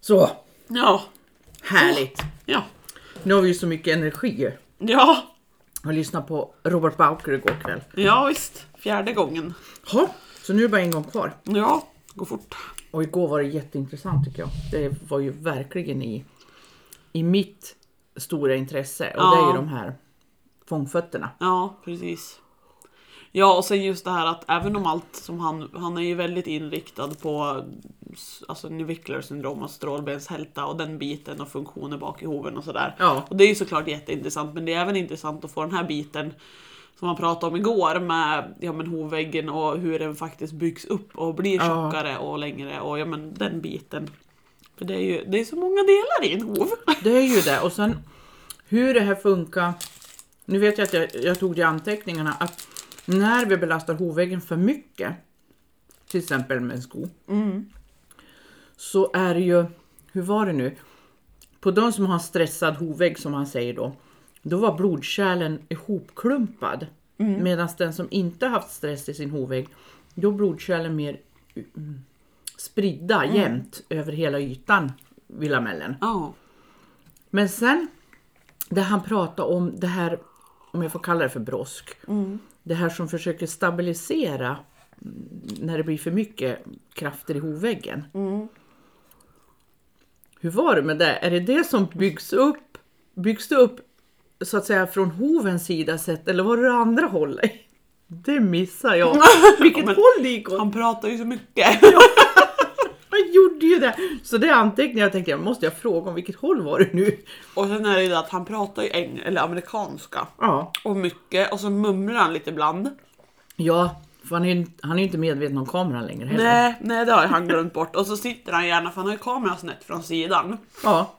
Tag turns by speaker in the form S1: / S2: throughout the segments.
S1: Så,
S2: Ja.
S1: härligt.
S2: Ja.
S1: Nu har vi ju så mycket energi.
S2: Ja.
S1: Jag lyssnade på Robert Bauker igår kväll.
S2: Ja visst. Fjärde gången.
S1: Ha, så nu är det bara en gång kvar.
S2: Ja. Går fort.
S1: Och igår var det jätteintressant tycker jag. Det var ju verkligen i, i mitt stora intresse. Och det är
S2: Ja.
S1: ju de här fångfötterna.
S2: Ja, precis. Ja, och sen just det här att även om allt som han, han är ju väldigt inriktad på s- alltså navicular syndrom och strålbenshälta och den biten och funktioner bak i hoven och sådär.
S1: Ja.
S2: Och det är ju såklart jätteintressant, men det är även intressant att få den här biten som man pratade om igår med ja, men hovväggen och hur den faktiskt byggs upp och blir
S1: Ja.
S2: tjockare och längre och ja men den biten. För det är ju det är så många delar i en hov.
S1: Det är ju det. Och sen hur det här funkar. Nu vet jag att jag, jag tog det i anteckningarna att när vi belastar hovväggen för mycket, till exempel med en sko, så är det ju, hur var det nu? På de som har en stressad hovvägg som han säger då, då var blodkärlen ihopklumpad. Medan den som inte haft stress i sin hovvägg, då är blodkärlen mer mm, spridda jämnt över hela ytan vid lamellen.
S2: Ja.
S1: Men sen, det han pratar om, det här, om jag får kalla det för brosk, det här som försöker stabilisera mm, när det blir för mycket krafter i hovväggen. Hur var det med det? Är det det som byggs upp, byggs det upp så att säga från hovens sida sett eller var det det andra hållet? Det missar jag. Vilket
S2: Men-
S1: håll det gick åt.
S2: Han pratar ju så mycket.
S1: Han gjorde ju det. Så det är anteckningar. Jag tänkte, jag måste jag fråga om vilket håll var det nu?
S2: Och sen är det ju det att han pratar ju eng- eller amerikanska.
S1: Ja,
S2: Och mycket. Och så mumlar han lite ibland.
S1: Ja, för han är, ju- han är ju inte medveten om kameran längre heller.
S2: Nej, nej det har ju han glömt bort. Och så sitter han gärna, för han har ju kameran snett från sidan.
S1: Ja.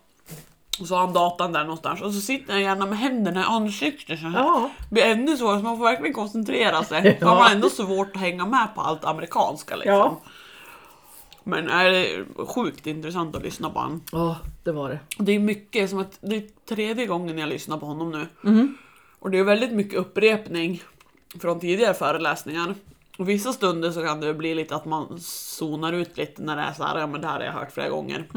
S2: Och så har han datan där någonstans. Och så sitter han gärna med händerna i ansiktet så här.
S1: Ja.
S2: Det blir ännu svårare, så man får verkligen koncentrera sig. För
S1: Ja.
S2: man har ändå svårt att hänga med på allt amerikanska liksom.
S1: Ja.
S2: Men är det är sjukt intressant att lyssna på honom.
S1: ja, det var det.
S2: Det är mycket, som att det är tredje gången jag lyssnar på honom nu. Och det är väldigt mycket upprepning från tidigare föreläsningar. Och vissa stunder så kan det bli lite att man zonar ut lite när det är så här, ja men det här har jag hört flera gånger.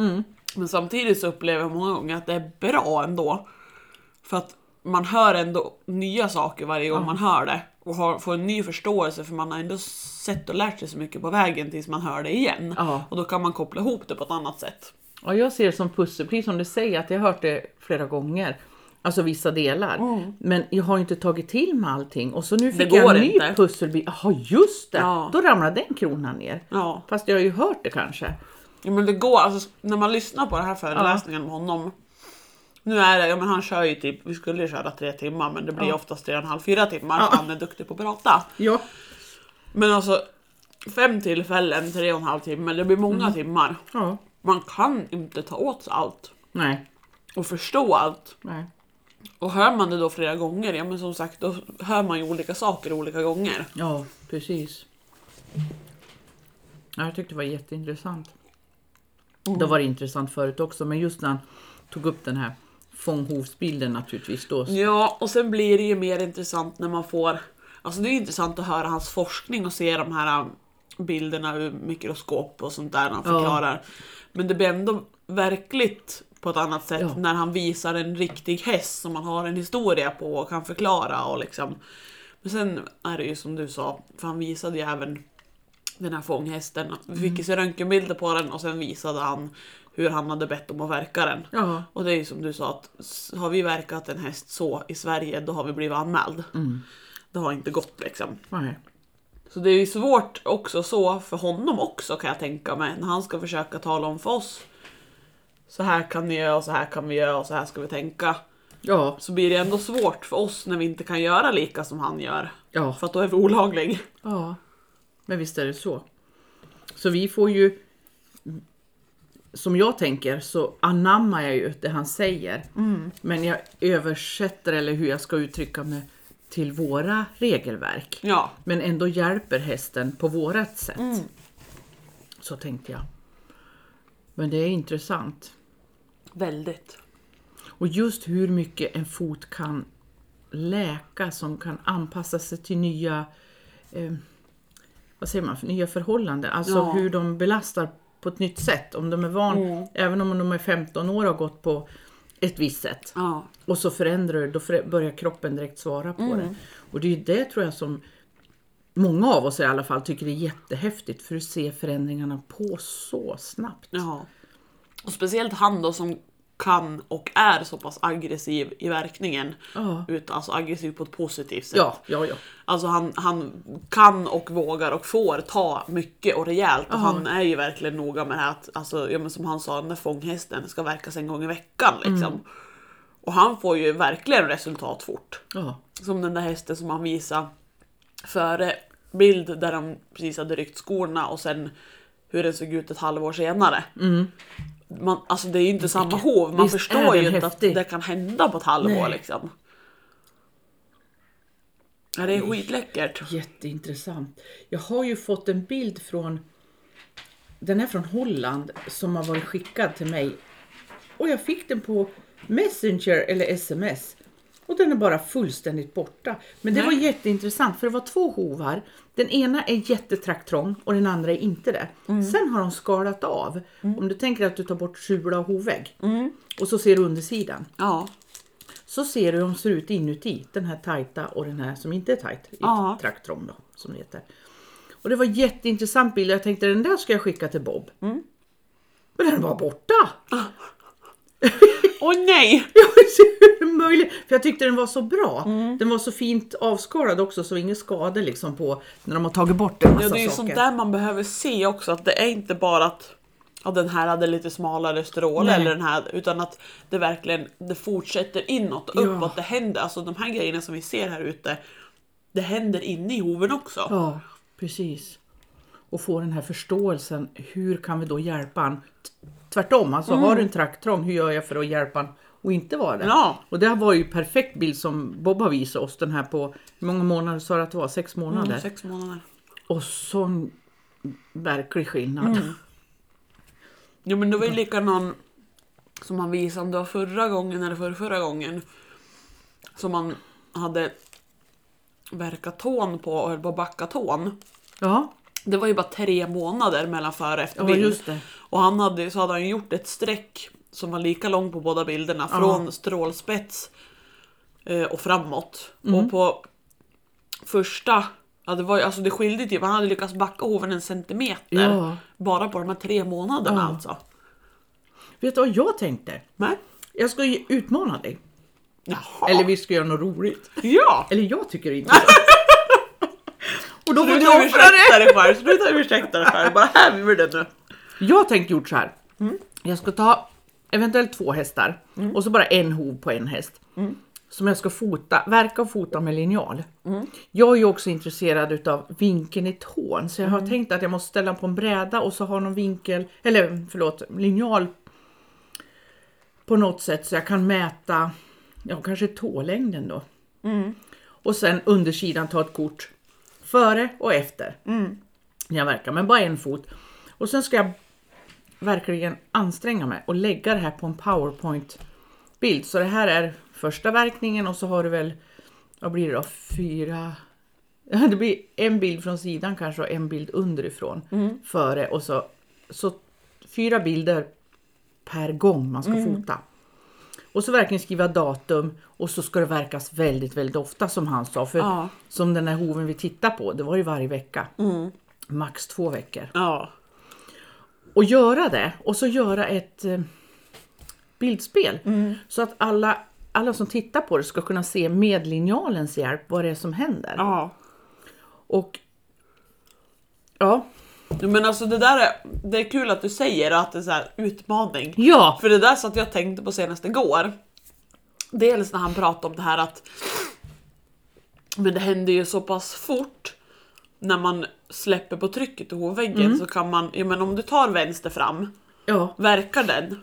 S2: Men samtidigt så upplever jag många gånger att det är bra ändå. För att man hör ändå nya saker varje gång man hör det. Och har, får en ny förståelse för man har ändå sett och lärt sig så mycket på vägen tills man hör det igen.
S1: Ja.
S2: Och då kan man koppla ihop det på ett annat sätt.
S1: Ja, jag ser det som pussel, precis som du säger, att jag har hört det flera gånger. Alltså vissa delar. Men jag har ju inte tagit till mig allting. Och så nu fick jag
S2: Mm. går
S1: en ny
S2: inte.
S1: pusselbit. Jaha, just det!
S2: Ja.
S1: Då ramlade den kronan ner.
S2: Ja.
S1: Fast jag har ju hört det kanske.
S2: Ja men det går, alltså när man lyssnar på den här föreläsningen med honom. Nu är det, ja men han kör ju typ, vi skulle ju köra tre timmar men det blir oftast tre och en halv, fyra timmar för
S1: Ja.
S2: han är duktig på att prata.
S1: Ja.
S2: Men alltså fem tillfällen, tre och en halv timme, det blir många timmar.
S1: Ja.
S2: Man kan inte ta åt sig allt
S1: Nej.
S2: och förstå allt.
S1: Nej.
S2: Och hör man det då flera gånger, ja men som sagt då hör man ju olika saker olika gånger.
S1: Ja, precis. Ja, jag tyckte det var jätteintressant. Det var intressant förut också, men just när han tog upp den här fånghovsbilden naturligtvis då.
S2: Ja, och sen blir det ju mer intressant när man får... Alltså det är intressant att höra hans forskning och se de här um, bilderna ur mikroskop och sånt där när han
S1: Ja.
S2: förklarar. Men det blir ändå verkligt på ett annat sätt
S1: Ja.
S2: när han visar en riktig häst som man har en historia på och kan förklara och liksom. Men sen är det ju som du sa, för han visade ju även den här fånghästen. Vi fick
S1: Mm.
S2: ju se röntgenbilder på den och sen visade han hur han hade bett om att verka den.
S1: Ja.
S2: Och det är ju som du sa, att s- har vi verkat en häst så i Sverige, då har vi blivit anmäld. Det har inte gått liksom.
S1: Nej.
S2: Så det är ju svårt också så för honom också kan jag tänka mig, när han ska försöka tala om för oss. Så här kan ni göra, och så här kan vi göra och så här ska vi tänka.
S1: Ja,
S2: Så blir det ändå svårt för oss när vi inte kan göra lika som han gör.
S1: ja,
S2: För att då är vi olaglig.
S1: ja. Men visst är det så. Så vi får ju, som jag tänker, så anammar jag ju det han säger. Men jag översätter, eller hur jag ska uttrycka mig, till våra regelverk.
S2: Ja,
S1: Men ändå hjälper hästen på vårat sätt. Så tänkte jag. Men det är intressant.
S2: väldigt.
S1: Och just hur mycket en fot kan läka som kan anpassa sig till nya, eh, vad säger man, för nya förhållanden. Alltså
S2: Ja. Mm.
S1: hur de belastar på ett nytt sätt. Om de är van, även om de är 15 år och har gått på ett visst sätt.
S2: Ja. Mm.
S1: Och så förändrar du, då förä- börjar kroppen direkt svara på det. Och det är ju det tror jag som många av oss i alla fall tycker är jättehäftigt. För att se förändringarna på så snabbt.
S2: Jaha. Och speciellt han då som kan och är så pass aggressiv i verkningen.
S1: Ja.
S2: Ut, alltså aggressiv på ett positivt sätt.
S1: Ja, ja, ja.
S2: Alltså han, han kan och vågar och får ta mycket och rejält. Och han är ju verkligen noga med det här att, alltså, ja, men som han sa, den där fånghästen ska verkas en gång i veckan. Liksom. Och han får ju verkligen resultat fort.
S1: ja.
S2: Som den där hästen som han visade före bild där han precis hade ryckt skorna och sen hur den såg ut ett halvår senare. Man, alltså det är ju inte samma hov, man
S1: Mm. Visst är
S2: förstår
S1: den
S2: ju inte
S1: häftig?
S2: att det kan hända på ett halvår
S1: Nej.
S2: liksom. Ja, det är skitläckert.
S1: Jätteintressant. Jag har ju fått en bild från den är från Holland som har varit skickad till mig. Och jag fick den på Messenger eller sms. Och den är bara fullständigt borta. Men det
S2: Nej.
S1: var jätteintressant för det var två hovar. Den ena är jättetrakttrång och den andra är inte det. Sen har de skalat av. Om du tänker att du tar bort sula och hovvägg. Och så ser du undersidan.
S2: Ja,
S1: Så ser du hur de ser ut inuti. Den här tajta och den här som inte är tajt. I
S2: Ja.
S1: Traktrom då, som det heter. Och det var en jätteintressant bild. Jag tänkte den där ska jag skicka till Bob.
S2: Mm.
S1: Men den var borta!
S2: Åh nej!
S1: Jag vet inte hur det är möjligt. För jag tyckte den var så bra.
S2: Mm.
S1: Den var så fint avskalad också så ingen skada liksom på när de har tagit bort en massa
S2: Ja, det är ju
S1: saker.
S2: sånt där man behöver se också, att det är inte bara att ja, den här hade lite smalare stråle
S1: Nej.
S2: eller den här, utan att det verkligen det fortsätter inåt och
S1: Ja.
S2: uppåt. Det händer, alltså de här grejerna som vi ser här ute, det händer inne i hoven också.
S1: Ja, precis. Och få den här förståelsen. Hur kan vi då hjälpa han? T- Tvärtom, alltså har du en traktorn, hur gör jag för att hjälpa han och inte vara det?
S2: Mm. Ja.
S1: Och det här var ju perfekt bild som Bob har visat oss den här på, hur många månader sa du att det var? Sex månader?
S2: Mm, sex månader.
S1: Och sån verklig skillnad.
S2: Mm. Jo men det var ju likadan som han visade om det var förra gången eller förra, förra gången. Som han hade verkat tån på och höll på att backa tån.
S1: Ja,
S2: Det var ju bara tre månader mellan före och efter
S1: Ja,
S2: bild.
S1: just det.
S2: Och han hade, så hade han gjort ett streck som var lika långt på båda bilderna, från strålspets eh, och framåt.
S1: Mm.
S2: Och på första, ja, det, var, ju- alltså det skilde ju typ, han hade lyckats backa hoven en centimeter.
S1: Ja.
S2: Bara på de här tre månaderna
S1: Ja.
S2: alltså.
S1: vet du vad jag tänkte?
S2: Men,
S1: Jag ska ju utmana dig.
S2: jaha.
S1: Eller vi ska göra något roligt.
S2: ja!
S1: Eller jag tycker inte det. Och då får du
S2: Sluta
S1: offra det.
S2: ursäkta dig själv, sluta ursäkta dig själv. Bara här vi det nu.
S1: Jag tänkte gjort så här. Jag ska ta eventuellt två hästar och så bara en hov på en häst. Som jag ska fota, verka och fota med linjal. Jag är ju också intresserad utav vinkeln i tån så jag har tänkt att jag måste ställa på en bräda och så ha någon vinkel, eller förlåt, linjal på något sätt så jag kan mäta, ja kanske tålängden då. Och sen undersidan ta ett kort före och efter när jag verkar, men bara en fot. Och sen ska jag verkligen anstränga mig och lägga det här på en powerpoint-bild. Så det här är första verkningen och så har du väl, vad blir det då, fyra... Ja, Det blir en bild från sidan kanske och en bild underifrån. Före och så, så fyra bilder per gång man ska fota. Och så verkligen skriva datum och så ska det verkas väldigt, väldigt ofta som han sa. För
S2: Ja.
S1: som den här hoven vi tittar på, det var ju varje vecka. Max två veckor
S2: Ja.
S1: och göra det och så göra ett eh, bildspel
S2: Mm.
S1: så att alla, alla som tittar på det ska kunna se med linjalens hjälp vad det är som händer.
S2: ja.
S1: Och ja,
S2: Ja, Men alltså det där är, det är kul att du säger att det är så här utmaning.
S1: ja,
S2: För det där satt jag och tänkte på senast igår. Dels när han pratade om det här att men det händer ju så pass fort när man släpper på trycket i hovväggen
S1: Mm.
S2: så kan man, ja men om du tar vänster fram,
S1: ja,
S2: verkar den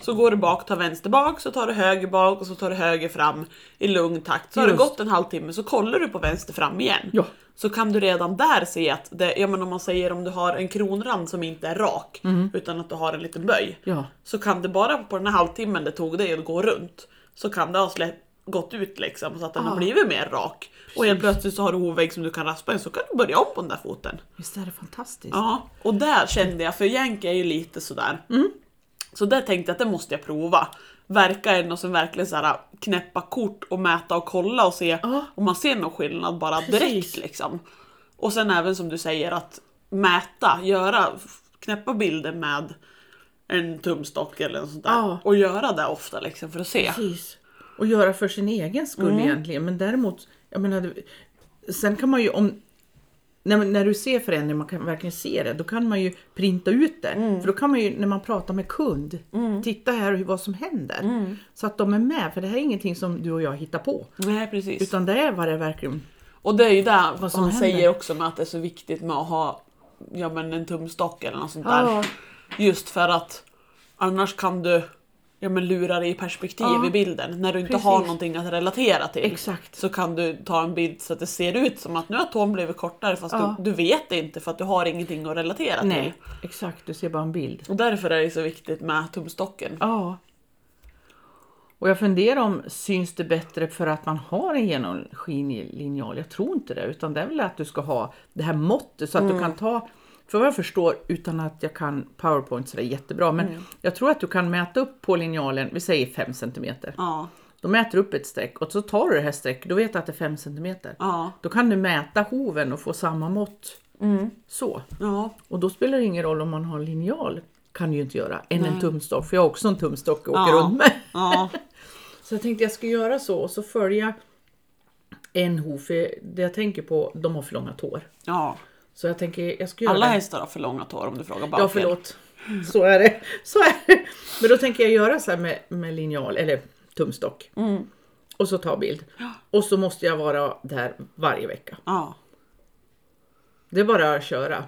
S2: så går du bak, tar vänster bak, så tar du höger bak och så tar du höger fram i lugn takt. Så har det
S1: Just.
S2: gått en halvtimme så kollar du på vänster fram igen.
S1: Ja.
S2: Så kan du redan där se att, det, ja men om man säger om du har en kronrand som inte är rak
S1: Mm.
S2: utan att du har en liten böj.
S1: ja,
S2: Så kan det bara på den här halvtimmen det tog dig att gå runt så kan det ha släppt gått ut liksom så att den
S1: Ja.
S2: har blivit mer rak. Och helt plötsligt så har du hovägg som du kan raspa i så kan du börja om på den där foten.
S1: Visst är det fantastiskt?
S2: Ja, och där kände jag, för jänk är ju lite sådär.
S1: Mm.
S2: Så där tänkte jag att det måste jag prova. Verka en och sen verkligen såhär, knäppa kort och mäta och kolla och se
S1: Ja.
S2: om man ser någon skillnad bara
S1: Precis.
S2: direkt. Liksom. Och sen även som du säger att mäta, göra, f- knäppa bilder med en tumstock eller en sån där.
S1: Ja.
S2: Och göra det ofta liksom för att se.
S1: Precis. Och göra för sin egen skull egentligen. Men däremot, jag menar, det- sen kan man ju om... När, när du ser förändring, man kan verkligen se det, då kan man ju printa ut det. För då kan man ju när man pratar med kund, titta här och vad som händer. Så att de är med, för det här är ingenting som du och jag hittar på.
S2: Nej precis.
S1: Utan det är vad det verkligen...
S2: Och det är ju där vad
S1: som
S2: som han
S1: händer.
S2: säger också med att det är så viktigt med att ha ja, men en tumstock eller något sånt där.
S1: Ja.
S2: Just för att annars kan du ja, men lura dig i perspektiv
S1: Ja.
S2: i bilden. När du inte
S1: Precis.
S2: har någonting att relatera till
S1: Exakt.
S2: så kan du ta en bild så att det ser ut som att nu har tån blivit kortare fast
S1: Ja.
S2: du, du vet det inte för att du har ingenting att relatera till.
S1: Nej, exakt. Du ser bara en bild.
S2: Och därför är det så viktigt med tumstocken.
S1: Ja. Och jag funderar om syns det bättre för att man har en genomskinlig linjal? Jag tror inte det, utan det är väl att du ska ha det här måttet så att du kan ta, för vad jag förstår, utan att jag kan powerpoint sådär jättebra, men jag tror att du kan mäta upp på linjalen, vi säger 5 cm.
S2: Ja,
S1: Då mäter du upp ett streck och så tar du det här strecket, då vet du att det är 5 cm.
S2: ja,
S1: Då kan du mäta hoven och få samma mått. Så.
S2: ja.
S1: Och då spelar det ingen roll om man har linjal, kan du ju inte göra, än en tumstock, för jag har också en tumstock och åker
S2: Ja.
S1: runt med.
S2: ja.
S1: Så jag tänkte jag ska göra så och så följa en hov, för det jag tänker på, de har för långa tår.
S2: ja.
S1: Så jag tänker jag ska göra
S2: Alla
S1: det.
S2: hästar har för långa tår om du frågar bara
S1: Ja förlåt, så är det. Så är det. Men då tänker jag göra så här med, med linjal eller tumstock. Och så ta bild. Och så måste jag vara där varje vecka.
S2: Ja.
S1: Det är bara att köra.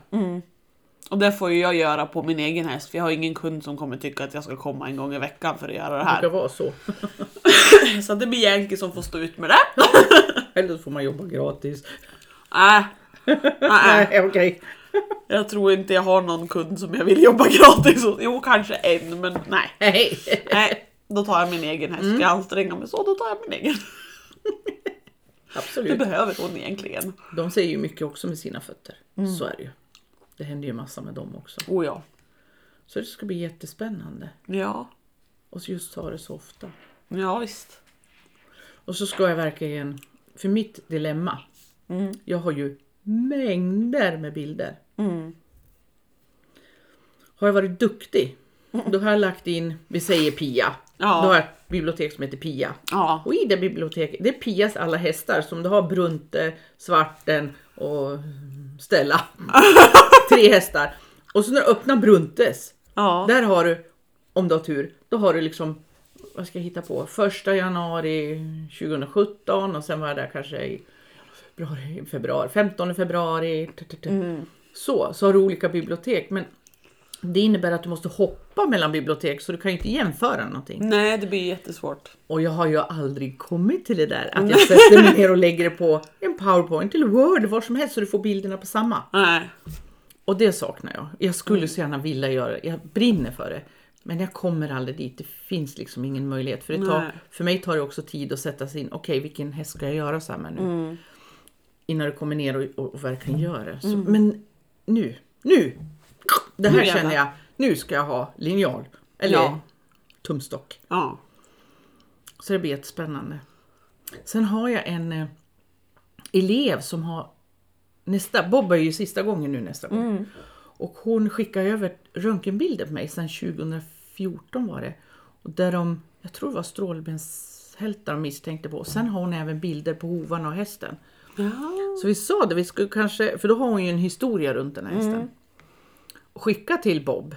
S2: Och det får ju jag göra på min egen häst, för jag har ingen kund som kommer tycka att jag ska komma en gång i veckan för att göra det
S1: Det ska
S2: här.
S1: vara så.
S2: Så det blir Yankee som får stå ut med det.
S1: Eller så får man jobba gratis.
S2: Nej. Nej,
S1: Nej, okej.
S2: jag tror inte jag har någon kund som jag vill jobba gratis hos. Jo, kanske en, men nej.
S1: Hej!
S2: Nej, då tar jag min egen häst. Ska jag anstränga mig så, då tar jag min egen. Det
S1: Absolut.
S2: behöver hon egentligen.
S1: De säger ju mycket också med sina fötter. Så är det ju. Det händer ju massa med dem också.
S2: Oh ja.
S1: Så det ska bli jättespännande.
S2: Ja,
S1: Och så just ta det så ofta.
S2: ja visst.
S1: Och så ska jag verkligen, för mitt dilemma, jag har ju mängder med bilder. Har jag varit duktig, då har jag lagt in, vi säger Pia,
S2: Ja.
S1: då har jag ett bibliotek som heter Pia.
S2: Ja,
S1: Och i det biblioteket, det är Pias alla hästar som du har Brunte, Svarten och mm, Stella. Tre hästar. Och så när du öppnar Bruntes,
S2: ja,
S1: där har du, om du har tur, då har du liksom, vad ska jag hitta på, första januari 2017 och sen var jag där kanske i februari, februari 15 februari. t- t- t- Så, så har du olika bibliotek. Men det innebär att du måste hoppa mellan bibliotek så du kan ju inte jämföra någonting.
S2: nej det blir jättesvårt.
S1: Och jag har ju aldrig kommit till det där
S2: Mm.
S1: att jag sätter mig ner och lägger det på en powerpoint eller word, var som helst så du får bilderna på samma.
S2: Nej,
S1: Och det saknar jag. Jag skulle
S2: Mm.
S1: så gärna vilja göra det, jag brinner för det. Men jag kommer aldrig dit, det finns liksom ingen möjlighet. För, det tar,
S2: Nej.
S1: för mig tar det också tid att sätta sig in, okej vilken häst ska jag göra så här med nu?
S2: Mm.
S1: Innan du kommer ner och, och, och verkligen gör det. Så, Men nu, nu! Det här
S2: Mm. Nu jävlar.
S1: känner jag, nu ska jag ha linjal. Eller
S2: Ja.
S1: tumstock.
S2: ja,
S1: Så det blir jättespännande. Sen har jag en eh, elev som har nästa, Bob är ju sista gången nu nästa gång. Och hon skickar över röntgenbilder på mig sedan 2014 var det. Och där de, jag tror det var strålbenshälta de misstänkte på. Och sen har hon även bilder på hovarna och hästen.
S2: ja,
S1: Så vi sa det, vi skulle kanske, för då har hon ju en historia runt den här hästen. Skicka till Bob.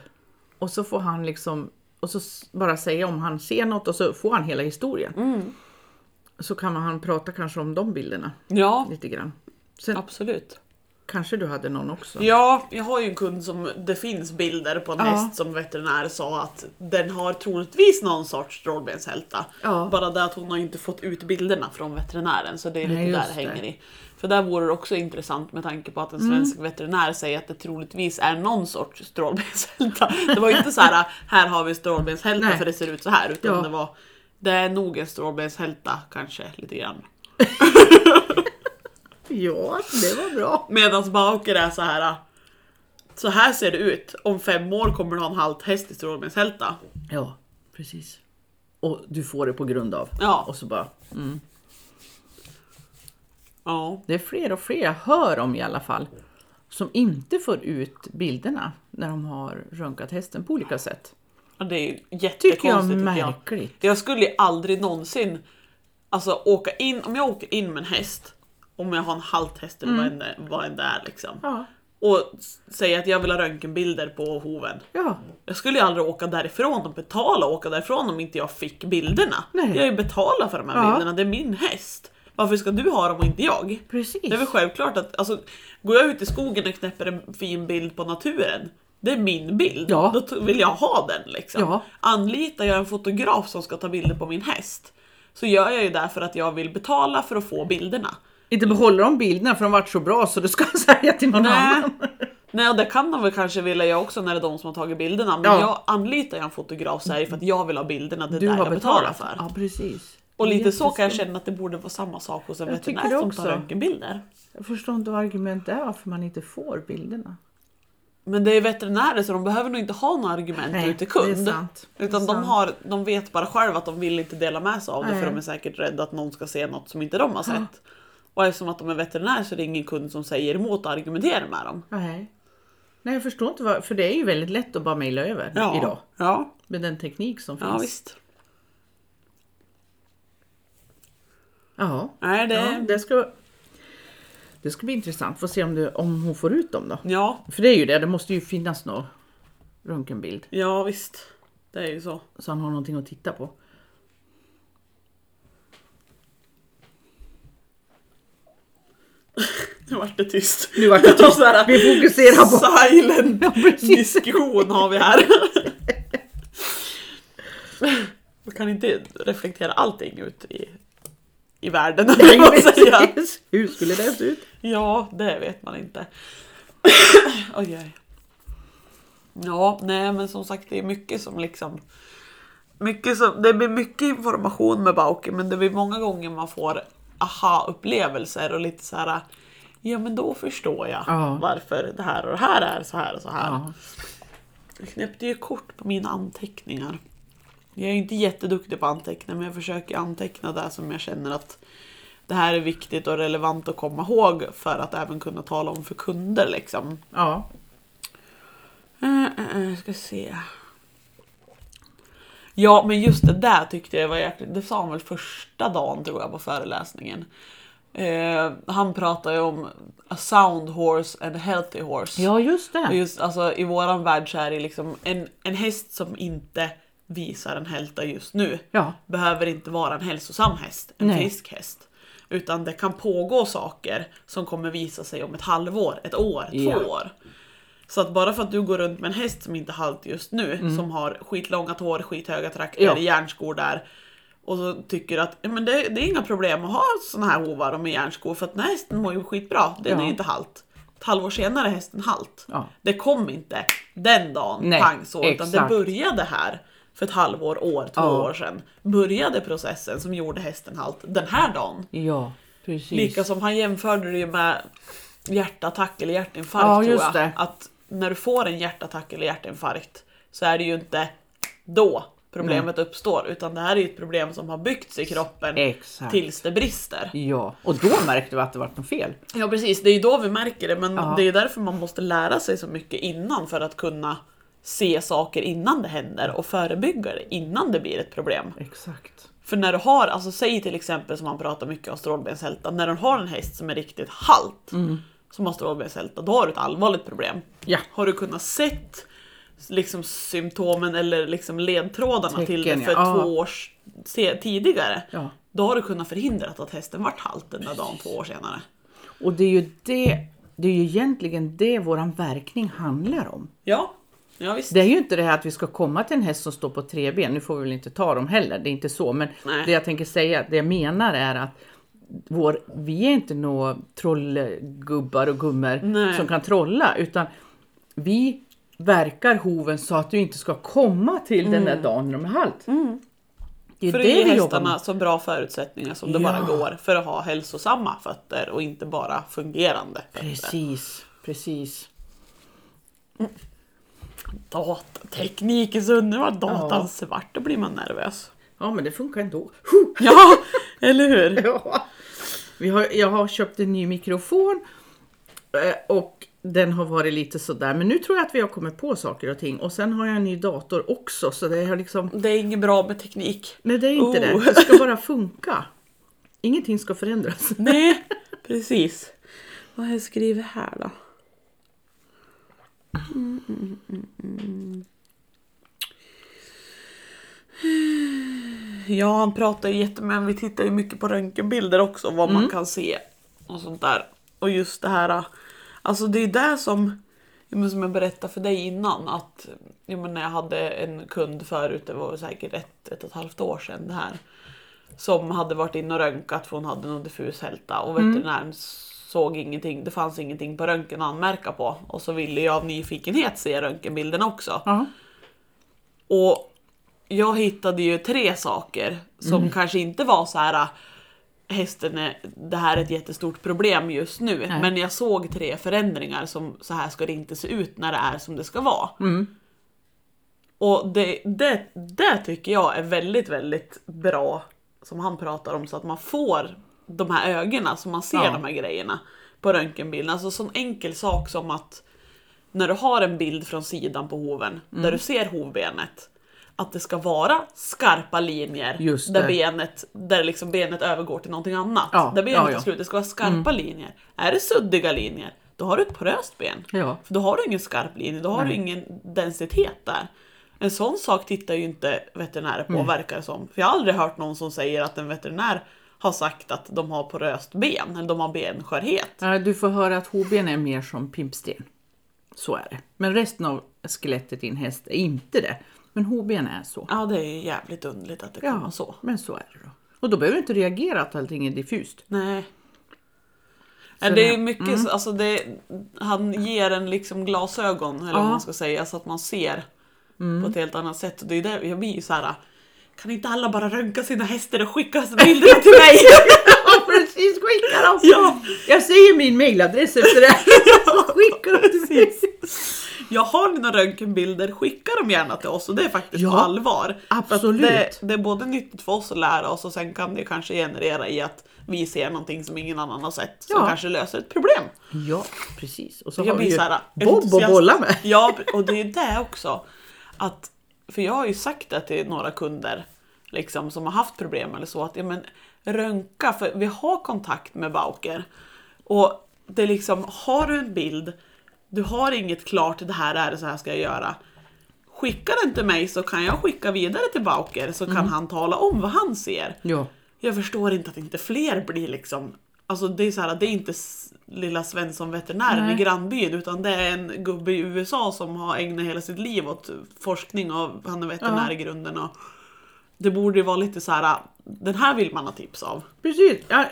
S1: Och så får han liksom, och så s- bara säga om han ser något och så får han hela historien. Så kan han prata kanske om de bilderna
S2: ja,
S1: lite grann. Sen
S2: absolut.
S1: kanske du hade någon också?
S2: Ja, jag har ju en kund som det finns bilder på en
S1: Ja.
S2: häst som veterinär sa att den har troligtvis någon sorts strålbenshälta.
S1: Ja.
S2: Bara det att hon har inte fått ut bilderna från veterinären så det är lite
S1: Nej,
S2: där
S1: just
S2: det
S1: det. Mm.
S2: hänger i. För där vore det också intressant med tanke på att en svensk veterinär säger att det troligtvis är någon sorts strålbenshälta. Det var ju inte så här, här har vi strålbenshälta
S1: Nej.
S2: för det ser ut så här utan
S1: Ja.
S2: det var Det är nog en strålbenshälta kanske lite grann.
S1: Ja, det var bra.
S2: Medan Bauker är så här. Så här ser det ut. Om fem år kommer du ha en halt häst i strålbenshälta.
S1: Ja, precis. Och du får det på grund av.
S2: Ja.
S1: Och så bara, mm.
S2: ja.
S1: Det är fler och fler jag hör om i alla fall som inte får ut bilderna när de har röntgat hästen på olika sätt.
S2: Ja, Det är ju
S1: Tycker jag
S2: jättekonstigt
S1: är
S2: tycker jag.
S1: märkligt.
S2: Jag skulle ju aldrig någonsin alltså, åka in, om jag åker in med en häst, om jag har en halt häst eller vad än det- vad än det är liksom.
S1: Ja.
S2: Och s- säga att jag vill ha röntgenbilder på hoven.
S1: ja,
S2: Jag skulle ju aldrig åka därifrån och betala och åka därifrån om inte jag fick bilderna.
S1: Nej.
S2: Jag har ju betalat för de här
S1: Ja.
S2: bilderna, det är min häst. Varför ska du ha dem och inte jag?
S1: precis.
S2: Det är väl självklart att, alltså, går jag ut i skogen och knäpper en fin bild på naturen, det är min bild.
S1: Ja.
S2: Då t- vill jag ha den liksom.
S1: Ja.
S2: Anlitar jag en fotograf som ska ta bilder på min häst, så gör jag ju det för att jag vill betala för att få bilderna.
S1: Inte behåller de bilderna för de vart så bra så du ska sälja till någon
S2: Nej.
S1: annan.
S2: Nej, och det kan de väl kanske vilja jag också när det är de som har tagit bilderna. Men
S1: Ja.
S2: jag anlitar jag en fotograf så är det för att jag vill ha bilderna, det är
S1: Du
S2: där
S1: har
S2: jag betalar
S1: betalat
S2: för.
S1: Ja, precis.
S2: Och
S1: Det är
S2: lite så kan jag
S1: jätteskumt.
S2: känna att det borde vara samma sak hos en
S1: Jag tycker
S2: veterinär
S1: det
S2: som
S1: också.
S2: tar röntgenbilder.
S1: Jag förstår inte vad argumentet är varför man inte får bilderna.
S2: Men det är veterinärer så de behöver nog inte ha några argument
S1: Nej,
S2: ut till kund.
S1: det är sant. Det är
S2: Utan de,
S1: sant.
S2: har, de vet bara själva att de vill inte dela med sig av det
S1: Nej.
S2: för de är säkert rädda att någon ska se något som inte de har sett. Och eftersom att de är veterinärer så är det ingen kund som säger emot och argumenterar med dem.
S1: Nej. Nej, jag förstår inte vad, för det är ju väldigt lätt att bara mejla över idag.
S2: Ja,
S1: Med den teknik som
S2: ja
S1: finns.
S2: visst.
S1: Ja,
S2: Nej, det...
S1: Ja, det, ska, det ska bli intressant. Får se om, det, om hon får ut dem då.
S2: Ja,
S1: För det är ju det, det måste ju finnas någon röntgenbild.
S2: ja visst. Det är ju så.
S1: Så han har någonting att titta på.
S2: Nu vart det tyst.
S1: Nu vart det tyst.
S2: Så här,
S1: Vi fokuserar på-
S2: Silent
S1: Ja, precis.
S2: diskussion har vi här. Man kan inte reflektera allting ut i, i världen. Nej,
S1: Precis.
S2: säga.
S1: Hur skulle det se ut?
S2: Ja, det vet man inte. oj, oj. Ja, nej men som sagt det är mycket som liksom... Mycket som, det blir mycket information med Bauke men det blir många gånger man får aha-upplevelser och lite så här. Ja men då förstår jag
S1: Ja.
S2: varför det här och det här är så här och så här.
S1: Ja.
S2: Jag knäppte ju kort på mina anteckningar. Jag är ju inte jätteduktig på att anteckna men jag försöker anteckna det som jag känner att det här är viktigt och relevant att komma ihåg för att även kunna tala om för kunder liksom.
S1: ja.
S2: Eh, eh, eh, ska se. Ja, men just det där tyckte jag var jäkligt... Det sa han väl första dagen tror jag på föreläsningen. Eh, han pratade ju om a sound horse and a healthy horse.
S1: Ja, just
S2: Och
S1: det.
S2: just alltså, i våran värld så är det liksom en, en häst som inte visar en hälta just nu
S1: Ja,
S2: behöver inte vara en hälsosam häst, en
S1: Nej.
S2: frisk häst. Utan det kan pågå saker som kommer visa sig om ett halvår, ett år,
S1: Ja.
S2: två år. Så att bara för att du går runt med en häst som inte är halt just nu, som har skitlånga tår, skithöga trakter,
S1: Mm. Ja.
S2: järnskor där. Och så tycker att ja, men det, det är inga problem att ha såna här hovar och med järnskor för att den här hästen mår ju skitbra, den
S1: Ja.
S2: är ju inte halt. Ett halvår senare är hästen halt.
S1: Ja.
S2: Det kom inte den dagen,
S1: Nej,
S2: pang så, utan det
S1: exakt.
S2: började här för ett halvår, år, två
S1: Ja.
S2: år sedan började processen som gjorde hästen halt den här dagen.
S1: ja precis.
S2: Lika som han jämförde det ju med hjärtattack eller hjärtinfarkt
S1: Ja,
S2: tror
S1: just
S2: jag.
S1: det.
S2: Att när du får en hjärtattack eller hjärtinfarkt så är det ju inte då problemet uppstår utan det här är ju ett problem som har byggts i kroppen
S1: Exakt.
S2: tills det brister.
S1: Ja, och då märkte vi att det vart något fel.
S2: Ja precis, det är ju då vi märker det men
S1: Ja.
S2: det är ju därför man måste lära sig så mycket innan för att kunna se saker innan det händer och förebygga det innan det blir ett problem.
S1: Exakt.
S2: För när du har, alltså säg till exempel som man pratar mycket om strålbenshälta, när du har en häst som är riktigt halt
S1: Mm.
S2: som har strålbenshälta, då har du ett allvarligt problem.
S1: Ja.
S2: Har du kunnat sett liksom symptomen eller liksom ledtrådarna till det
S1: Tecken,
S2: för
S1: ja. Ja.
S2: två år s- se- tidigare,
S1: Ja.
S2: då har du kunnat förhindra att hästen vart halt den där dagen två år senare.
S1: Och det är ju det, det är ju egentligen det våran verkning handlar om.
S2: Ja, ja visst.
S1: Det är ju inte det här att vi ska komma till en häst som står på tre ben. Nu får vi väl inte ta dem heller, det är inte så. Men
S2: Nej.
S1: det jag tänker säga, det jag menar är att vår, vi är inte några trollgubbar och gummor
S2: Nej.
S1: som kan trolla, utan vi verkar hoven så att du inte ska komma till den där dagen när de är halt. Det är
S2: Mm. för
S1: ju
S2: att
S1: det
S2: ge
S1: vi jobbar med.
S2: hästarna så bra förutsättningar som det
S1: Ja.
S2: bara går för att ha hälsosamma fötter och inte bara fungerande fötter.
S1: Precis, precis.
S2: Datateknik är så underbart, datan svart, då blir man nervös.
S1: Ja, men det funkar ändå.
S2: Ja, eller hur?
S1: Ja. Vi har, jag har köpt en ny mikrofon eh, och den har varit lite sådär. Men nu tror jag att vi har kommit på saker och ting. Och sen har jag en ny dator också. Så det har liksom...
S2: Det är inget bra med teknik.
S1: Nej, det är inte
S2: Oh.
S1: det. Det ska bara funka. Ingenting ska förändras.
S2: Nej, precis. Vad har jag skrivit här då? Mm, mm, mm, mm. Ja, han pratar ju jättemycket, vi tittar ju mycket på röntgenbilder också, vad man kan se och sånt där. Och just det här, alltså det är det som, ja, men som jag berättade för dig innan, att ja, men när jag hade en kund förut, det var säkert ett, ett och ett halvt år sedan det här som hade varit inne och röntgat för hon hade någon diffus hälta och veterinären såg ingenting. Det fanns ingenting på röntgen att anmärka på och så ville jag av nyfikenhet se röntgenbilderna också.
S1: Ja.
S2: Och jag hittade ju tre saker som
S1: Mm.
S2: kanske inte var så här äh, hästen är, det här är ett jättestort problem just nu.
S1: Nej.
S2: Men jag såg tre förändringar som så här ska det inte se ut när det är som det ska vara.
S1: Mm.
S2: Och det, det, det tycker jag är väldigt, väldigt bra som han pratar om så att man får de här ögonen så man ser
S1: Ja.
S2: de här grejerna på röntgenbilden. Alltså sån enkel sak som att när du har en bild från sidan på hoven
S1: Mm.
S2: där du ser hovbenet att det ska vara skarpa linjer
S1: Just
S2: där
S1: det.
S2: benet där liksom benet övergår till någonting annat.
S1: Ja,
S2: där benet
S1: ja, ja.
S2: är
S1: Mm.
S2: slut, det ska vara skarpa linjer. Är det suddiga linjer, då har du ett poröst ben.
S1: Ja.
S2: För då har du ingen skarp linje, då har du ingen densitet där. En sån sak tittar ju inte veterinärer
S1: Mm.
S2: på verkar det som. För jag har aldrig hört någon som säger att en veterinär har sagt att de har poröst ben, eller de har benskörhet.
S1: Ja, Eh, Du får höra att hoben är mer som pimpsten. Så är det. Men resten av skelettet i en häst är inte det. Men hoben är så.
S2: Ja, det är ju jävligt underligt att det kan vara så.
S1: men så är det då. Och då behöver du inte reagera att allting är diffust.
S2: Nej. Ja, det är mycket,
S1: mm.
S2: så- alltså det, han ger en liksom glasögon eller vad
S1: Ja. Mm.
S2: man ska säga så att man ser på ett helt annat sätt. Och det är där jag blir ju så här. kan inte alla bara röntga sina hästar och skicka bilderna till mig?
S1: Ja, precis, skicka dem!
S2: Ja.
S1: Jag säger min mailadress efter det här. Skicka dem till mig.
S2: Jag har dina röntgenbilder, skicka dem gärna till oss och det är faktiskt på
S1: Ja,
S2: allvar. För att
S1: absolut.
S2: Det, det är både nyttigt för oss att lära oss och sen kan det kanske generera i att vi ser någonting som ingen annan har sett som
S1: Ja.
S2: kanske löser ett problem.
S1: Ja, precis. Och så
S2: Jag
S1: har vi
S2: blir
S1: ju
S2: så här,
S1: Bob att
S2: entusiast.
S1: bolla med.
S2: Ja, och det är det också. Att, för jag har ju sagt det till några kunder liksom, som har haft problem eller så, att ja, men, röntga, för vi har kontakt med Bauker. Och det är liksom, har du en bild, du har inget klart, det här är det, så här ska jag göra. Skicka den till mig så kan jag skicka vidare till Bauker så
S1: Mm.
S2: kan han tala om vad han ser.
S1: Ja,
S2: Jag förstår inte att inte fler blir liksom Alltså det är så här, det är inte s- lilla Svensson veterinären
S1: Nej.
S2: i grannbyn utan det är en gubbe i USA som har ägnat hela sitt liv åt forskning och han är veterinär
S1: Ja.
S2: i grunden. Och det borde ju vara lite så här, den här vill man ha tips av.
S1: precis. Ja,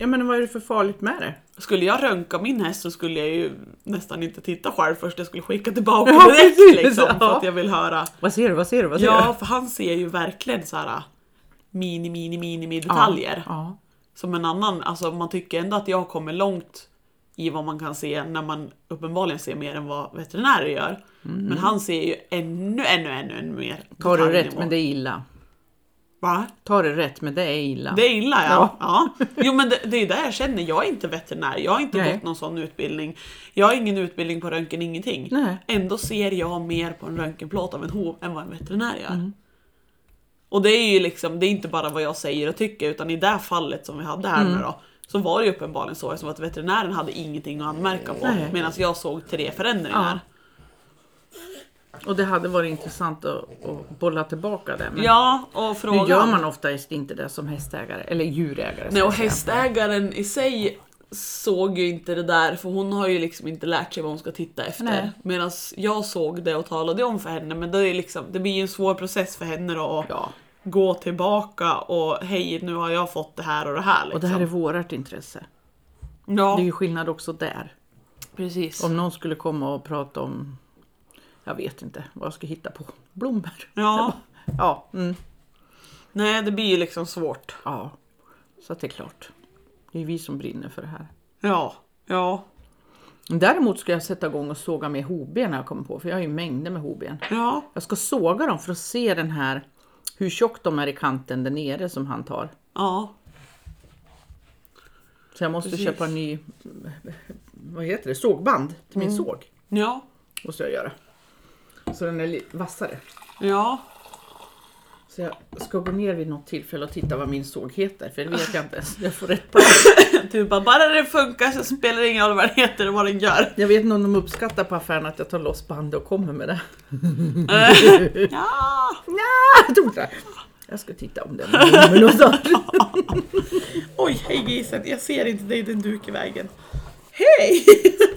S1: jag menar, vad är det för farligt med det?
S2: Skulle jag rönka min häst så skulle jag ju nästan inte titta själv först, jag skulle skicka tillbaka
S1: Ja,
S2: direkt
S1: precis,
S2: liksom, för
S1: ja.
S2: att jag vill höra.
S1: Vad ser du? Vad ser du? Vad ser
S2: Ja, för han ser ju verkligen så här mini, mini, mini
S1: du?
S2: detaljer.
S1: Ja,
S2: som en annan, alltså man tycker ändå att jag kommer långt i vad man kan se när man uppenbarligen ser mer än vad veterinärer gör. Men han ser ju ännu, ännu, ännu, ännu mer.
S1: ja. Tar Mm. du rätt,
S2: detaljnivå.
S1: men det är illa.
S2: Va?
S1: Tar du rätt, men det är illa.
S2: Det är illa ja.
S1: Ja.
S2: ja. Jo men det, det är det jag känner, jag är inte veterinär, jag har inte
S1: Nej.
S2: gått någon sån utbildning. Jag har ingen utbildning på röntgen, ingenting.
S1: Nej.
S2: Ändå ser jag mer på en röntgenplåt av en hov än vad en veterinär gör.
S1: Mm.
S2: Och det är ju liksom, det är inte bara vad jag säger och tycker utan i det här fallet som vi hade här
S1: Mm.
S2: nu då så var det ju uppenbarligen så eftersom att veterinären hade ingenting att anmärka på
S1: Nej.
S2: medan jag såg tre förändringar.
S1: Och det hade varit intressant att, att bolla tillbaka det. Men
S2: Mm. Ja, och
S1: nu
S2: frågan...
S1: gör man oftast inte det som hästägare, eller djurägare. ska
S2: Nej, och
S1: jag säga.
S2: hästägaren i sig såg ju inte det där för hon har ju liksom inte lärt sig vad hon ska titta efter.
S1: Nej.
S2: Medan jag såg det och talade om för henne men det, är liksom, det blir ju en svår process för henne då att
S1: Ja.
S2: gå tillbaka och hej nu har jag fått det här och det här. Liksom.
S1: Och det här är vårt intresse.
S2: ja,
S1: Det är ju skillnad också där.
S2: precis.
S1: Om någon skulle komma och prata om, jag vet inte vad jag ska hitta på, blommor.
S2: Ja.
S1: Ja, mm.
S2: Nej, det blir ju liksom svårt.
S1: Ja, så att det är klart. Det är vi som brinner för det här.
S2: Ja, ja,
S1: Däremot ska jag sätta igång och såga med hovben när jag kommer på, för jag har ju mängder med hovben.
S2: ja.
S1: Jag ska såga dem för att se den här, hur tjockt de är i kanten där nere som han tar.
S2: Ja,
S1: Så jag måste
S2: Precis.
S1: köpa en ny, vad heter det, sågband till
S2: Mm.
S1: min såg.
S2: ja,
S1: Måste jag göra. Så den är lite vassare.
S2: ja.
S1: Så jag ska gå ner vid något tillfälle och titta vad min såg heter, för det vet jag inte ens. Jag får rätt på det.
S2: Du Typ bara, bara det funkar så spelar det ingen roll vad den heter och vad den gör.
S1: Jag vet inte om de uppskattar på affären att jag tar loss bandet och kommer med det.
S2: Ja!
S1: Nja, jag tror inte det. Jag ska titta om det är någon nummer någonstans.
S2: Oj, hej grisen, jag ser inte dig, det är en duk i vägen.
S1: Hej!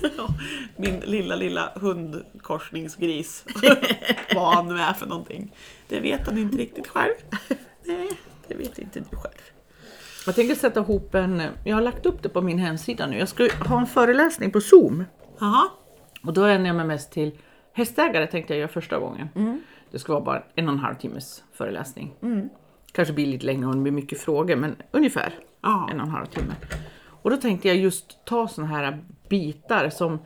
S2: Min lilla, lilla hundkorsningsgris. vad han nu är för någonting. Det vet han inte riktigt själv. Nej, det vet inte du själv.
S1: Jag tänker sätta ihop en, jag har lagt upp det på min hemsida nu. Jag ska ha en föreläsning på Zoom.
S2: Jaha.
S1: Och då vänder jag mig mest till hästägare tänkte jag göra första gången.
S2: Mm.
S1: Det ska vara bara en och en halv timmes föreläsning. Kanske blir lite längre om det blir mycket frågor men ungefär
S2: Ja.
S1: en och en halv timme. Och då tänkte jag just ta sådana här bitar som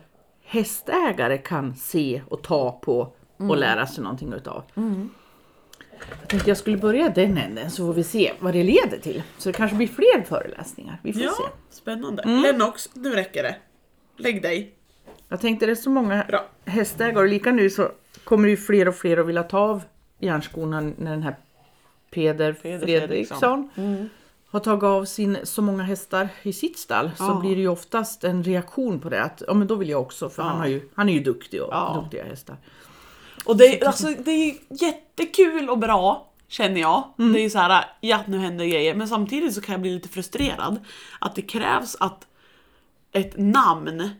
S1: hästägare kan se och ta på och
S2: Mm.
S1: lära sig någonting utav. Jag tänkte jag skulle börja den änden så får vi se vad det leder till. Så det kanske blir fler föreläsningar. Vi får se.
S2: Ja, spännande. Lennox, nu räcker det. Lägg dig.
S1: Jag tänkte det är så många
S2: Bra.
S1: hästägare och lika nu så kommer det ju fler och fler att vilja ta av järnskorna när den här Peder,
S2: Peder Mm.
S1: Fredriksson har tagit av sin, så många hästar i sitt stall så
S2: Ja.
S1: blir det ju oftast en reaktion på det att ja men då vill jag också för han, har ju, han är ju duktig och
S2: Ja.
S1: duktiga hästar.
S2: Och det, är- alltså, det är jättekul och bra känner jag. Det är ju så här, ja nu händer grejer. Men samtidigt så kan jag bli lite frustrerad. Att det krävs att ett namn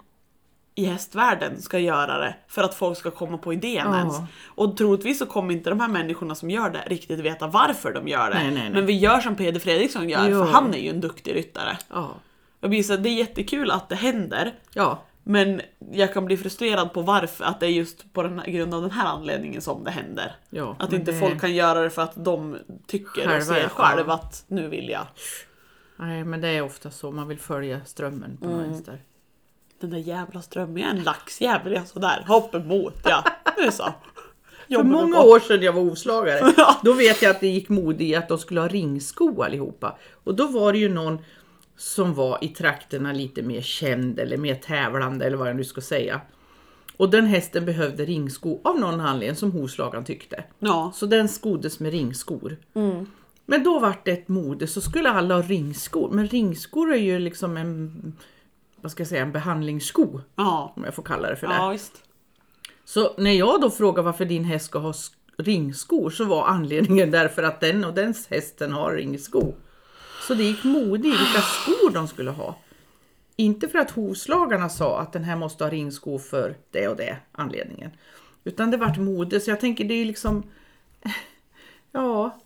S2: i hästvärlden ska göra det för att folk ska komma på idén
S1: Ja.
S2: ens. Och troligtvis så kommer inte de här människorna som gör det riktigt veta varför de gör det.
S1: Nej, nej, nej.
S2: Men vi gör som Peder Fredriksson gör,
S1: Ja.
S2: för han är ju en duktig ryttare.
S1: Ja.
S2: Jag blir så här, det är jättekul att det händer,
S1: ja,
S2: men jag kan bli frustrerad på varför, att det är just på den här, grund av den här anledningen som det händer.
S1: ja.
S2: Att
S1: men
S2: inte
S1: det-
S2: folk kan göra det för att de tycker
S1: Själva,
S2: och ser
S1: ja.
S2: själv att nu vill jag.
S1: Nej men det är ofta så, man vill följa strömmen
S2: Mm.
S1: på något vänster.
S2: Den där jävla strömmen, jag är en laxjävel jag sådär, hopp emot ja. Nu så.
S1: För
S2: Jobbar vi
S1: många
S2: på.
S1: år sedan jag var hovslagare,
S2: Ja.
S1: då vet jag att det gick mode i att de skulle ha ringsko allihopa. Och då var det ju någon som var i trakterna lite mer känd eller mer tävlande eller vad jag nu ska säga. Och den hästen behövde ringsko av någon anledning som hovslagaren tyckte.
S2: Ja.
S1: Så den skoddes med ringskor. Men då var det ett mode så skulle alla ha ringskor. Men ringskor är ju liksom en, vad ska jag säga, en behandlingssko.
S2: Ja.
S1: Om jag får kalla det för det.
S2: ja, visst.
S1: Så när jag då frågar varför din häst ska ha sk- ringskor så var anledningen därför att den och dens hästen har ringsko. Så det gick mode i vilka skor de skulle ha. Inte för att hovslagarna sa att den här måste ha ringsko för det och det anledningen. Utan det vart mode, så jag tänker det är ju liksom... Ja,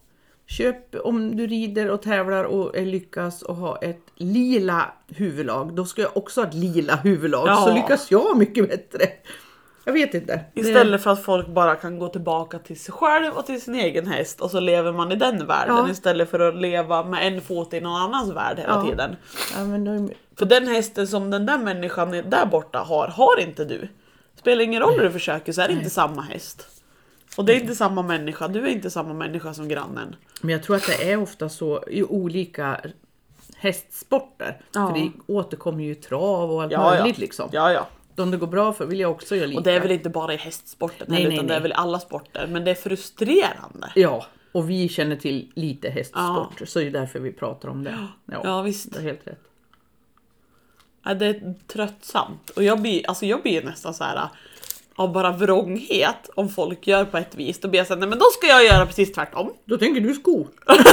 S1: köp om du rider och tävlar och eh, lyckas och ha ett lila huvudlag. Då ska jag också ha ett lila huvudlag, så
S2: Ja.
S1: lyckas jag mycket bättre. Jag vet inte. Det-
S2: Istället för att folk bara kan gå tillbaka till sig själv och till sin egen häst och så lever man i den världen
S1: Ja.
S2: istället för att leva med en fot i någon annans värld hela
S1: Ja.
S2: tiden.
S1: Ja, men då-
S2: För den hästen som den där människan är- där borta har, har inte du. Spelar ingen roll hur du försöker så är det inte samma häst. Och det är inte samma människa, du är inte samma människa som grannen.
S1: Men jag tror att det är ofta så i olika hästsporter.
S2: Ja.
S1: För det återkommer ju trav och allt
S2: Ja, ja.
S1: möjligt liksom.
S2: Ja, ja.
S1: De det går bra för vill jag också göra lika.
S2: Och det är väl inte bara i hästsporten
S1: Nej,
S2: heller,
S1: nej,
S2: utan det är
S1: nej.
S2: väl i alla sporter. Men det är frustrerande.
S1: Ja, och vi känner till lite hästsporter så det är därför vi pratar om det. Ja,
S2: Ja, visst.
S1: Du har helt rätt.
S2: Ja, det är tröttsamt. Och jag blir, alltså jag blir nästan så här av bara vrånghet om folk gör på ett vis. Då blir jag såhär, nej men då ska jag göra precis tvärtom.
S1: Då tänker du sko.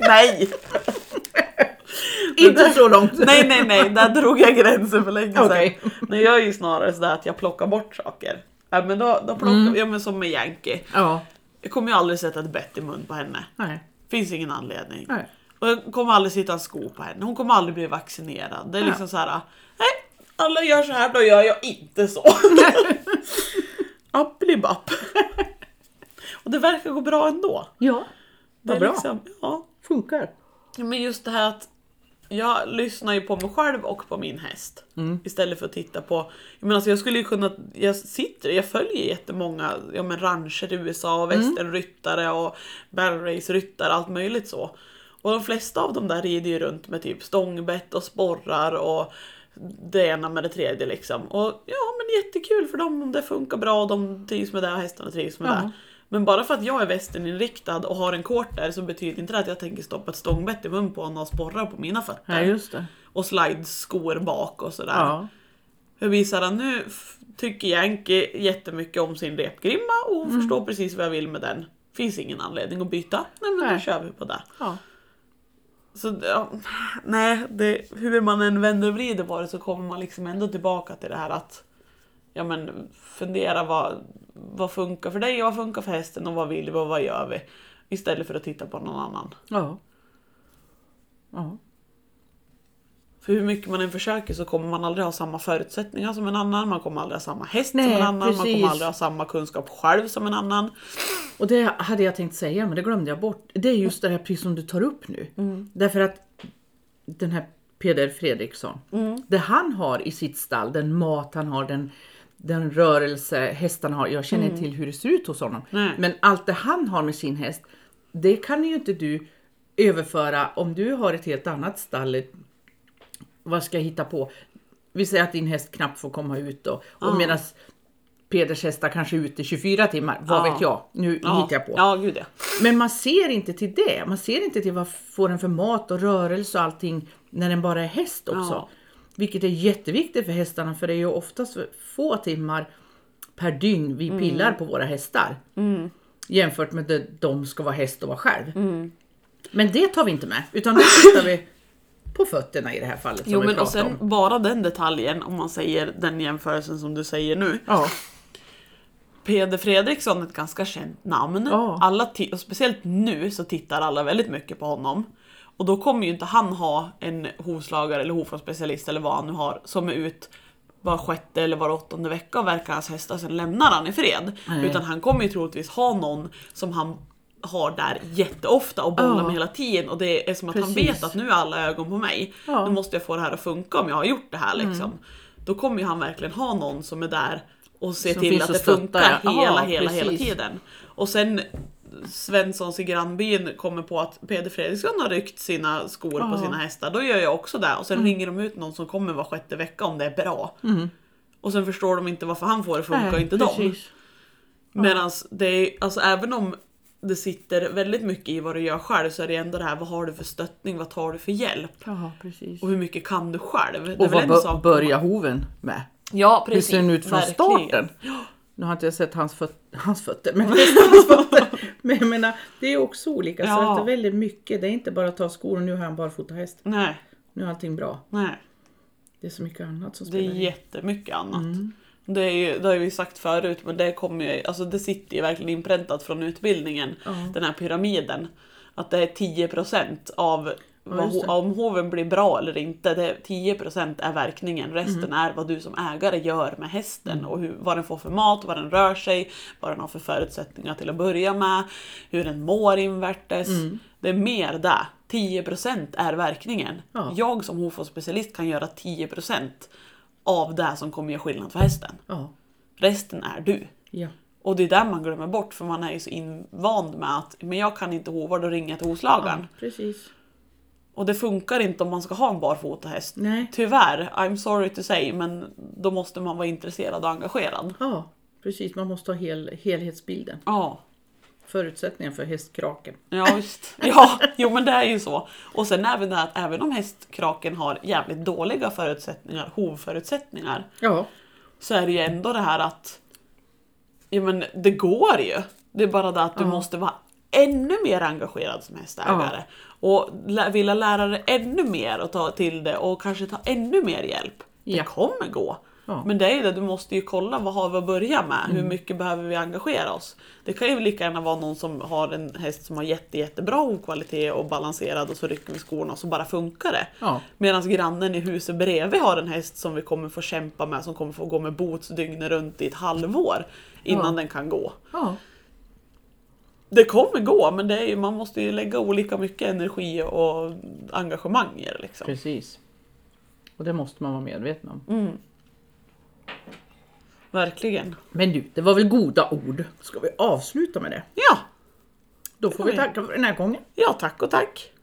S2: Nej!
S1: Inte så långt.
S2: Nej, nej, nej, där drog jag gränsen för länge sedan.
S1: Okej.
S2: Men jag är ju snarare sådär att jag plockar bort saker. Ja, men då, då plockar
S1: Mm.
S2: ja, men som med Yankee.
S1: Ja,
S2: Jag kommer ju aldrig sätta ett bett i mun på henne.
S1: nej.
S2: Finns ingen anledning.
S1: nej.
S2: Och jag kommer aldrig sitta en sko på henne. Hon kommer aldrig bli vaccinerad. Det är
S1: Ja.
S2: liksom så här. nej, alla gör så här, då gör jag inte så. Appelibapp. Och det verkar gå bra ändå.
S1: Ja,
S2: Det är
S1: Vad bra.
S2: Liksom, ja.
S1: Funkar.
S2: Men just det här att jag lyssnar ju på mig själv och på min häst. Istället för att titta på, jag menar alltså jag skulle ju kunna, jag sitter, jag följer jättemånga ja, men rancher i USA och västernryttare och barrelrace-ryttare, allt möjligt så. Och de flesta av dem där rider ju runt med typ stångbett och sporrar och det ena med det tredje liksom. Och ja men jättekul för dem om det funkar bra och de trivs med det och hästarna trivs med
S1: Ja.
S2: det. Men bara för att jag är västerninriktad och har en quarter så betyder inte det att jag tänker stoppa ett stångbett i mun på honom och sporra på mina fötter.
S1: Ja, just det.
S2: Och slideskor bak och sådär.
S1: Ja.
S2: För visar han nu f- tycker Yankee jättemycket om sin repgrimma och
S1: Mm.
S2: förstår precis vad jag vill med den. Finns ingen anledning att byta. Nej men då
S1: Nej.
S2: kör vi på det.
S1: ja.
S2: Så ja, nej, det, hur man än vänder och vrider på det så kommer man liksom ändå tillbaka till det här att ja, men, fundera vad, vad funkar för dig och vad funkar för hästen och vad vill vi och vad gör vi? Istället för att titta på någon annan.
S1: Ja. Ja.
S2: För hur mycket man än försöker så kommer man aldrig ha samma förutsättningar som en annan, man kommer aldrig ha samma häst som
S1: Nej,
S2: en annan, man
S1: precis.
S2: kommer aldrig ha samma kunskap själv som en annan.
S1: Och det hade jag tänkt säga, men det glömde jag bort. Det är just det här precis som du tar upp nu.
S2: Mm.
S1: Därför att den här Peder Fredriksson,
S2: Mm.
S1: det han har i sitt stall, den mat han har, den, den rörelse hästarna har. Jag känner inte till hur det ser ut hos honom.
S2: Mm. Nej.
S1: Men allt det han har med sin häst, det kan ju inte du överföra om du har ett helt annat stall, ett vad ska jag hitta på? Vi säger att din häst knappt får komma ut då. Och medan Peders hästar kanske är ute 24 timmar, vad
S2: Ja.
S1: vet jag? Nu
S2: Ja,
S1: hittar jag på.
S2: ja gud ja.
S1: Men man ser inte till det. Man ser inte till vad får den för mat och rörelse och allting när den bara är häst också.
S2: Ja.
S1: Vilket är jätteviktigt för hästarna för det är ju oftast få timmar per dygn vi
S2: Mm.
S1: pillar på våra hästar. Jämfört med det de ska vara häst och vara själv.
S2: Mm.
S1: Men det tar vi inte med utan då tittar vi på fötterna i det här fallet som
S2: Jo
S1: vi
S2: men och
S1: pratade
S2: sen
S1: om.
S2: bara den detaljen, om man säger den jämförelsen som du säger nu.
S1: Ja.
S2: Peder Fredriksson ett ganska känt namn.
S1: Ja.
S2: Alla ti- och speciellt nu så tittar alla väldigt mycket på honom. Och då kommer ju inte han ha en hovslagare eller hovfrånspecialist eller vad han nu har som är ut var sjätte eller var åttonde vecka och verkar hans hästar, sen lämnar han i fred.
S1: Nej.
S2: Utan han kommer ju troligtvis ha någon som han har där jätteofta och bollar
S1: Ja.
S2: med hela tiden och det är som att han
S1: Precis.
S2: vet att nu är alla ögon på mig.
S1: Ja. Mm.
S2: Nu måste jag få det här att funka om jag har gjort det här liksom. Då kommer ju han verkligen ha någon som är där och se
S1: Som
S2: till
S1: finns
S2: att
S1: och
S2: det funkar
S1: stöttar.
S2: hela,
S1: Ja,
S2: hela, hela
S1: precis.
S2: tiden. Och sen Svenssons i grannbyn kommer på att Peder Fredriksson har ryckt sina skor på
S1: Ja. Mm.
S2: sina hästar, då gör jag också det. Och sen ringer de ut någon som kommer var sjätte vecka om det är bra. Och sen förstår de inte varför han får det att funka och inte de.
S1: precis.
S2: Medan det är, alltså även om det sitter väldigt mycket i vad du gör själv så är det ändå det här, vad har du för stöttning, vad tar du för hjälp?
S1: Ja, precis.
S2: Och hur mycket kan du själv? Det är
S1: Och
S2: väl
S1: vad
S2: en
S1: bör-
S2: sak-
S1: börjar hoven med?
S2: Ja,
S1: Hur
S2: precis.
S1: ser den ut från
S2: verkligen.
S1: starten? Nu har inte jag sett hans, föt hans fötter, men hans fötter. Men jag menar, det är också olika. Så
S2: Ja.
S1: att det är väldigt mycket. Det är inte bara att ta skor och nu har han barfota häst.
S2: Nej,
S1: Nu är allting bra.
S2: nej.
S1: Det är så mycket annat som
S2: Det
S1: spelar
S2: är
S1: in.
S2: jättemycket annat.
S1: Mm.
S2: Det, är ju, det har vi sagt förut, men det, kommer ju, alltså det sitter ju verkligen inpräntat från utbildningen,
S1: Ja.
S2: den här pyramiden. Att det är 10% av vad,
S1: just det.
S2: ho- om hoven blir bra eller inte. Det, är- 10% är verkningen, resten
S1: Mm.
S2: är vad du som ägare gör med hästen och hur, vad den får för mat, vad den rör sig, vad den har för förutsättningar till att börja med, hur den mår invärtes.
S1: Mm.
S2: Det är mer där. 10% är verkningen.
S1: Ja.
S2: Jag som hovfårspecialist kan göra 10% av det här som kommer göra skillnad för hästen.
S1: Ja.
S2: Resten är du.
S1: ja.
S2: Och det är där man glömmer bort för man är ju så invand med att men jag kan inte hovar, då ringer jag till hovslagaren.
S1: ja, precis.
S2: Och det funkar inte om man ska ha en barfota häst.
S1: Nej.
S2: Tyvärr, I'm sorry to say, men då måste man vara intresserad och engagerad.
S1: Ja, precis. Man måste ha hel helhetsbilden.
S2: Ja,
S1: Förutsättningen för hästkraken.
S2: ja visst. Ja, jo men det är ju så. Och sen även det här att även om hästkraken har jävligt dåliga förutsättningar, hovförutsättningar,
S1: Ja.
S2: så är det ju ändå det här att ja, men det går ju. Det är bara det att du måste vara ännu mer engagerad som hästägare. Och lä- vilja lära dig ännu mer och ta till det och kanske ta ännu mer hjälp.
S1: Ja.
S2: Det kommer gå.
S1: Ja. Mm.
S2: Men det är ju det, du måste ju kolla vad har vi att börja med? Hur mycket behöver vi engagera oss? Det kan ju lika gärna vara någon som har en häst som har jätte, jättebra hovkvalitet och balanserad och så rycker vi skorna och så bara funkar det.
S1: Ja.
S2: Medan grannen i huset bredvid har en häst som vi kommer få kämpa med, som kommer få gå med boots dygnet runt i ett halvår innan
S1: Ja.
S2: den kan gå.
S1: Ja.
S2: det kommer gå, men det är ju, man måste ju lägga olika mycket energi och engagemang i det. Liksom.
S1: Precis. Och det måste man vara medveten om.
S2: Mm. Verkligen.
S1: Men du, det var väl goda ord? Ska vi avsluta med det?
S2: Ja,
S1: Då får vi tacka för den här gången.
S2: ja, tack och tack.